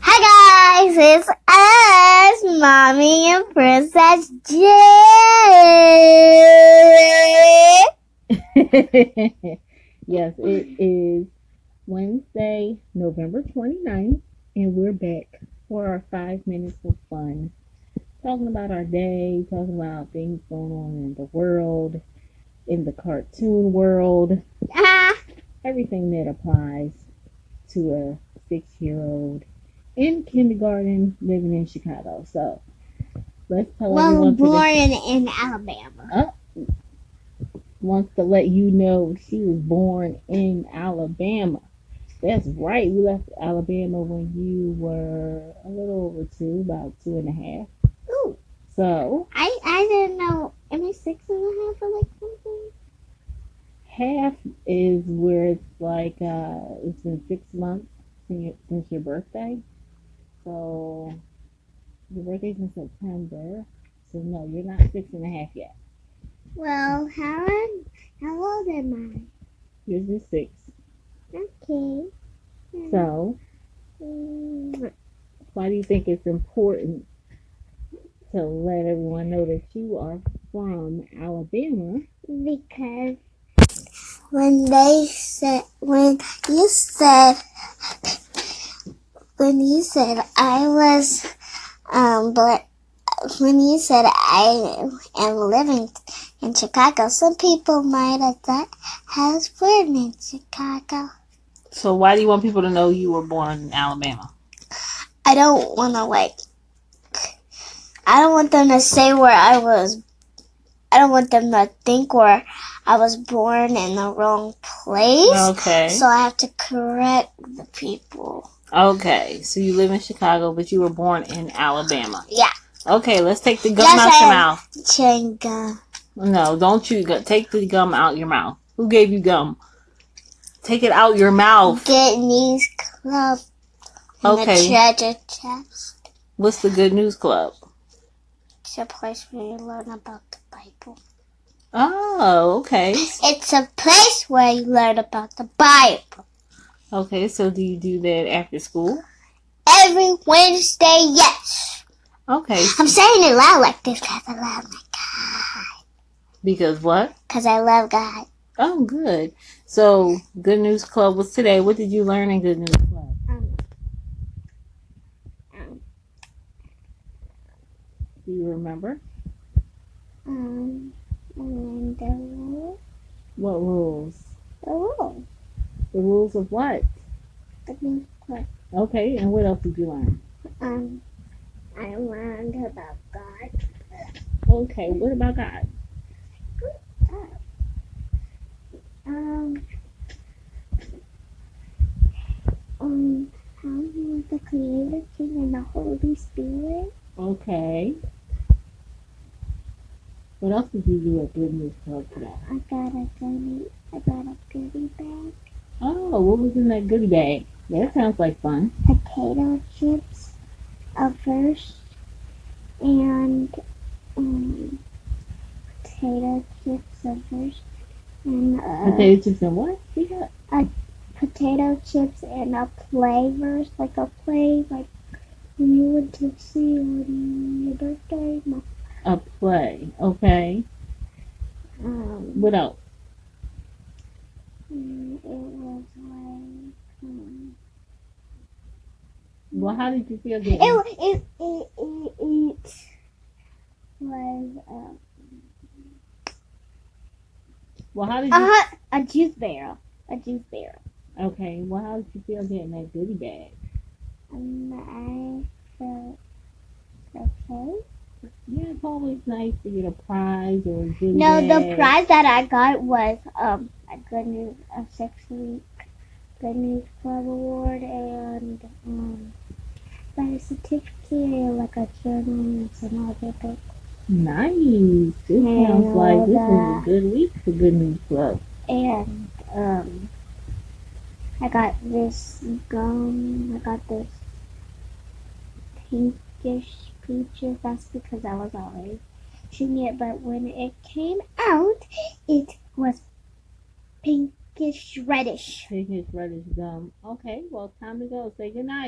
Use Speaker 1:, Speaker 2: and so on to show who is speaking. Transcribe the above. Speaker 1: Hi guys, it's us, Mommy and Princess J.
Speaker 2: yes, it is Wednesday, November 29th, and we're back for our five minutes of fun. Talking about our day, talking about things going on in the world, in the cartoon world,
Speaker 1: Ah,
Speaker 2: everything that applies to a six year old in kindergarten living in Chicago. So let's tell
Speaker 1: well,
Speaker 2: everyone to
Speaker 1: born in Alabama.
Speaker 2: wants to let you know she was born in Alabama. That's right. You left Alabama when you were a little over two, about two and a half.
Speaker 1: Ooh,
Speaker 2: So
Speaker 1: I I didn't know. Am I six and a half or like something?
Speaker 2: half is where it's like uh, it's been six months since your, since your birthday. So your birthday's in September. So no, you're not six and a half yet.
Speaker 1: Well, how am, how old am
Speaker 2: You're just six.
Speaker 1: I? Okay.
Speaker 2: So
Speaker 1: Mm,
Speaker 2: why do you think it's important to let everyone know that you are from Alabama?
Speaker 1: Because when they said when you said when you said I was um black when you said I am living in Chicago, some people might have thought I was born in Chicago.
Speaker 3: So why do you want people to know you were born in Alabama?
Speaker 1: I don't want to like. I don't want them to say where I was. I don't want them to think where I was born in the wrong place.
Speaker 3: Okay.
Speaker 1: So I have to correct the people.
Speaker 3: okay. So you live in Chicago, but you were born in Alabama.
Speaker 1: Yeah.
Speaker 3: Okay, let's take the gum
Speaker 1: Yes,
Speaker 3: out your
Speaker 1: I-
Speaker 3: mouth.
Speaker 1: Chenga.
Speaker 3: No, don't you go- take the gum out your mouth. Who gave you gum? Take it out your mouth.
Speaker 1: Get knees club. And
Speaker 3: Okay.
Speaker 1: The treasure chest.
Speaker 3: What's the Good News Club?
Speaker 1: It's a place where you learn about the Bible.
Speaker 3: Oh, okay.
Speaker 1: It's a place where you learn about the Bible.
Speaker 3: Okay, so do you do that after school?
Speaker 1: Every Wednesday, yes.
Speaker 3: Okay.
Speaker 1: I'm saying it loud like this because I love my
Speaker 3: Because what?
Speaker 1: Because I love God.
Speaker 3: Oh, good. So, Good News Club was today. What did you learn in Good News Club?
Speaker 1: Um, um,
Speaker 2: Do you remember?
Speaker 1: um, and the rule.
Speaker 2: What rules?
Speaker 1: The rule.
Speaker 2: The rules of what?
Speaker 1: The things that,
Speaker 2: Okay, and what else did you learn?
Speaker 1: um, I learned about God.
Speaker 2: Okay, what about God?
Speaker 1: Um, um, how he is the creator, king, and the Holy Spirit.
Speaker 2: Okay. What else did you do at Good News Club today?
Speaker 1: I got a goodie, I got a goodie bag.
Speaker 2: Oh, what was in that goodie bag? That sounds like fun.
Speaker 1: potato chips, a verse, and um, potato chips, a verse, and uh, a,
Speaker 2: Potato chips and what? We got
Speaker 1: potato chips and a play verse, like a play, like when you went to see on your birthday. My,
Speaker 2: a play. Okay.
Speaker 1: um,
Speaker 2: What else?
Speaker 1: mm, it was like. Um,
Speaker 2: Well, how did you feel
Speaker 1: it,
Speaker 2: getting?
Speaker 1: wa- it, it, it, it was um,
Speaker 2: Well, how did you?
Speaker 1: a, a juice barrel. A juice barrel.
Speaker 2: Okay. Well, how did you feel getting that goodie bag?
Speaker 1: Um, I felt okay.
Speaker 2: Yeah, it's always nice to get a prize or a goodie
Speaker 1: No,
Speaker 2: bag.
Speaker 1: the prize that I got was um a good news a six week good news club award and um like a certificate and like a journal and some other book.
Speaker 2: Nice. It
Speaker 1: Yeah,
Speaker 2: sounds like this was a
Speaker 1: that-
Speaker 2: good week for Good News Club.
Speaker 1: And um I got this gum. I got this pinkish peaches. That's because I was always eating it. But when it came out, it was pinkish reddish.
Speaker 2: Take his reddish gum. Okay. Well, time to go. Say good night.